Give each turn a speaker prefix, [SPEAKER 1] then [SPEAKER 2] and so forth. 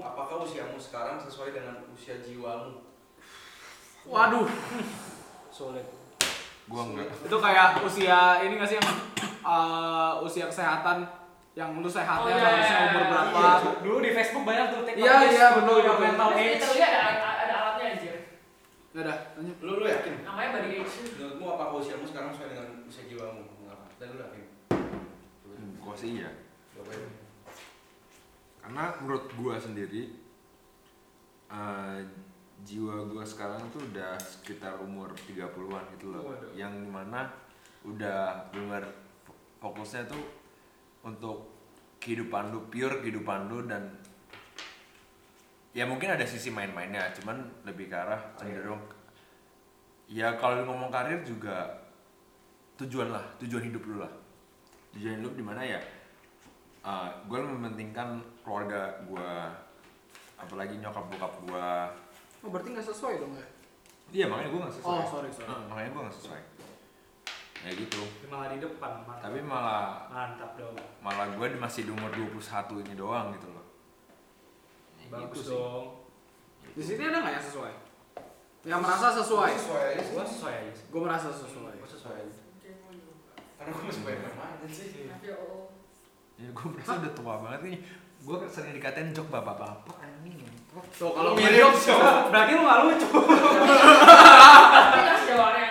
[SPEAKER 1] usiamu sekarang sesuai dengan usia jiwamu.
[SPEAKER 2] Waduh,
[SPEAKER 3] sulit
[SPEAKER 4] Gua enggak.
[SPEAKER 2] itu kayak usia ini nggak sih yang eh, usia kesehatan yang lu sehatnya
[SPEAKER 5] Oh, iya,
[SPEAKER 2] harusnya
[SPEAKER 5] iya,
[SPEAKER 2] umur
[SPEAKER 5] iya.
[SPEAKER 2] berapa?
[SPEAKER 3] dulu di Facebook banyak tuh take
[SPEAKER 2] Iya,
[SPEAKER 3] my age,
[SPEAKER 2] iya, betul,
[SPEAKER 3] your
[SPEAKER 2] betul.
[SPEAKER 3] mental
[SPEAKER 5] Tapi
[SPEAKER 3] age
[SPEAKER 5] literally ada, ada alatnya anjir.
[SPEAKER 2] Ya Udah, dah, lanjut.
[SPEAKER 1] Lu lu yakin?
[SPEAKER 5] Namanya body age.
[SPEAKER 1] Menurutmu apa usiamu sekarang sesuai dengan usia jiwamu? Enggak. Dan lu yakin?
[SPEAKER 4] Hmm, Gua sih iya.
[SPEAKER 1] Jawabannya.
[SPEAKER 4] Karena menurut gua sendiri eh, jiwa gua sekarang tuh udah sekitar umur 30-an gitu loh.
[SPEAKER 1] Waduh.
[SPEAKER 4] Yang dimana udah bener fokusnya tuh untuk kehidupan lu pure kehidupan lu dan ya mungkin ada sisi main-mainnya cuman lebih ke arah cenderung ya kalau lu ngomong karir juga tujuan lah tujuan hidup lu lah tujuan hidup di mana ya gue Eh, mementingkan keluarga gue apalagi nyokap bokap gue
[SPEAKER 2] Oh, berarti nggak sesuai dong ya?
[SPEAKER 4] iya makanya gue nggak sesuai
[SPEAKER 2] Oh, sorry, sorry.
[SPEAKER 4] Eh, makanya gue nggak sesuai ya gitu
[SPEAKER 3] malah di depan mantap
[SPEAKER 4] tapi malah
[SPEAKER 3] mantap dong
[SPEAKER 4] malah gue masih di umur 21 ini doang gitu loh Ya,
[SPEAKER 3] bagus
[SPEAKER 4] gitu sih.
[SPEAKER 3] dong
[SPEAKER 2] Di sini ada nggak yang sesuai? Yang merasa sesuai?
[SPEAKER 1] Sesuai aja sih.
[SPEAKER 3] gua sesuai aja sih.
[SPEAKER 2] Gue merasa sesuai.
[SPEAKER 1] Gua sesuai aja. Karena gua masih banyak main sih.
[SPEAKER 3] Iya.
[SPEAKER 4] ya gue merasa udah tua banget nih gue sering dikatain jok bapak bapak anjing
[SPEAKER 2] So kalau
[SPEAKER 1] Mirip,
[SPEAKER 2] mirip,
[SPEAKER 1] so.
[SPEAKER 3] berarti lu nggak lucu
[SPEAKER 5] Tapi harus jawabannya.
[SPEAKER 2] Hmm.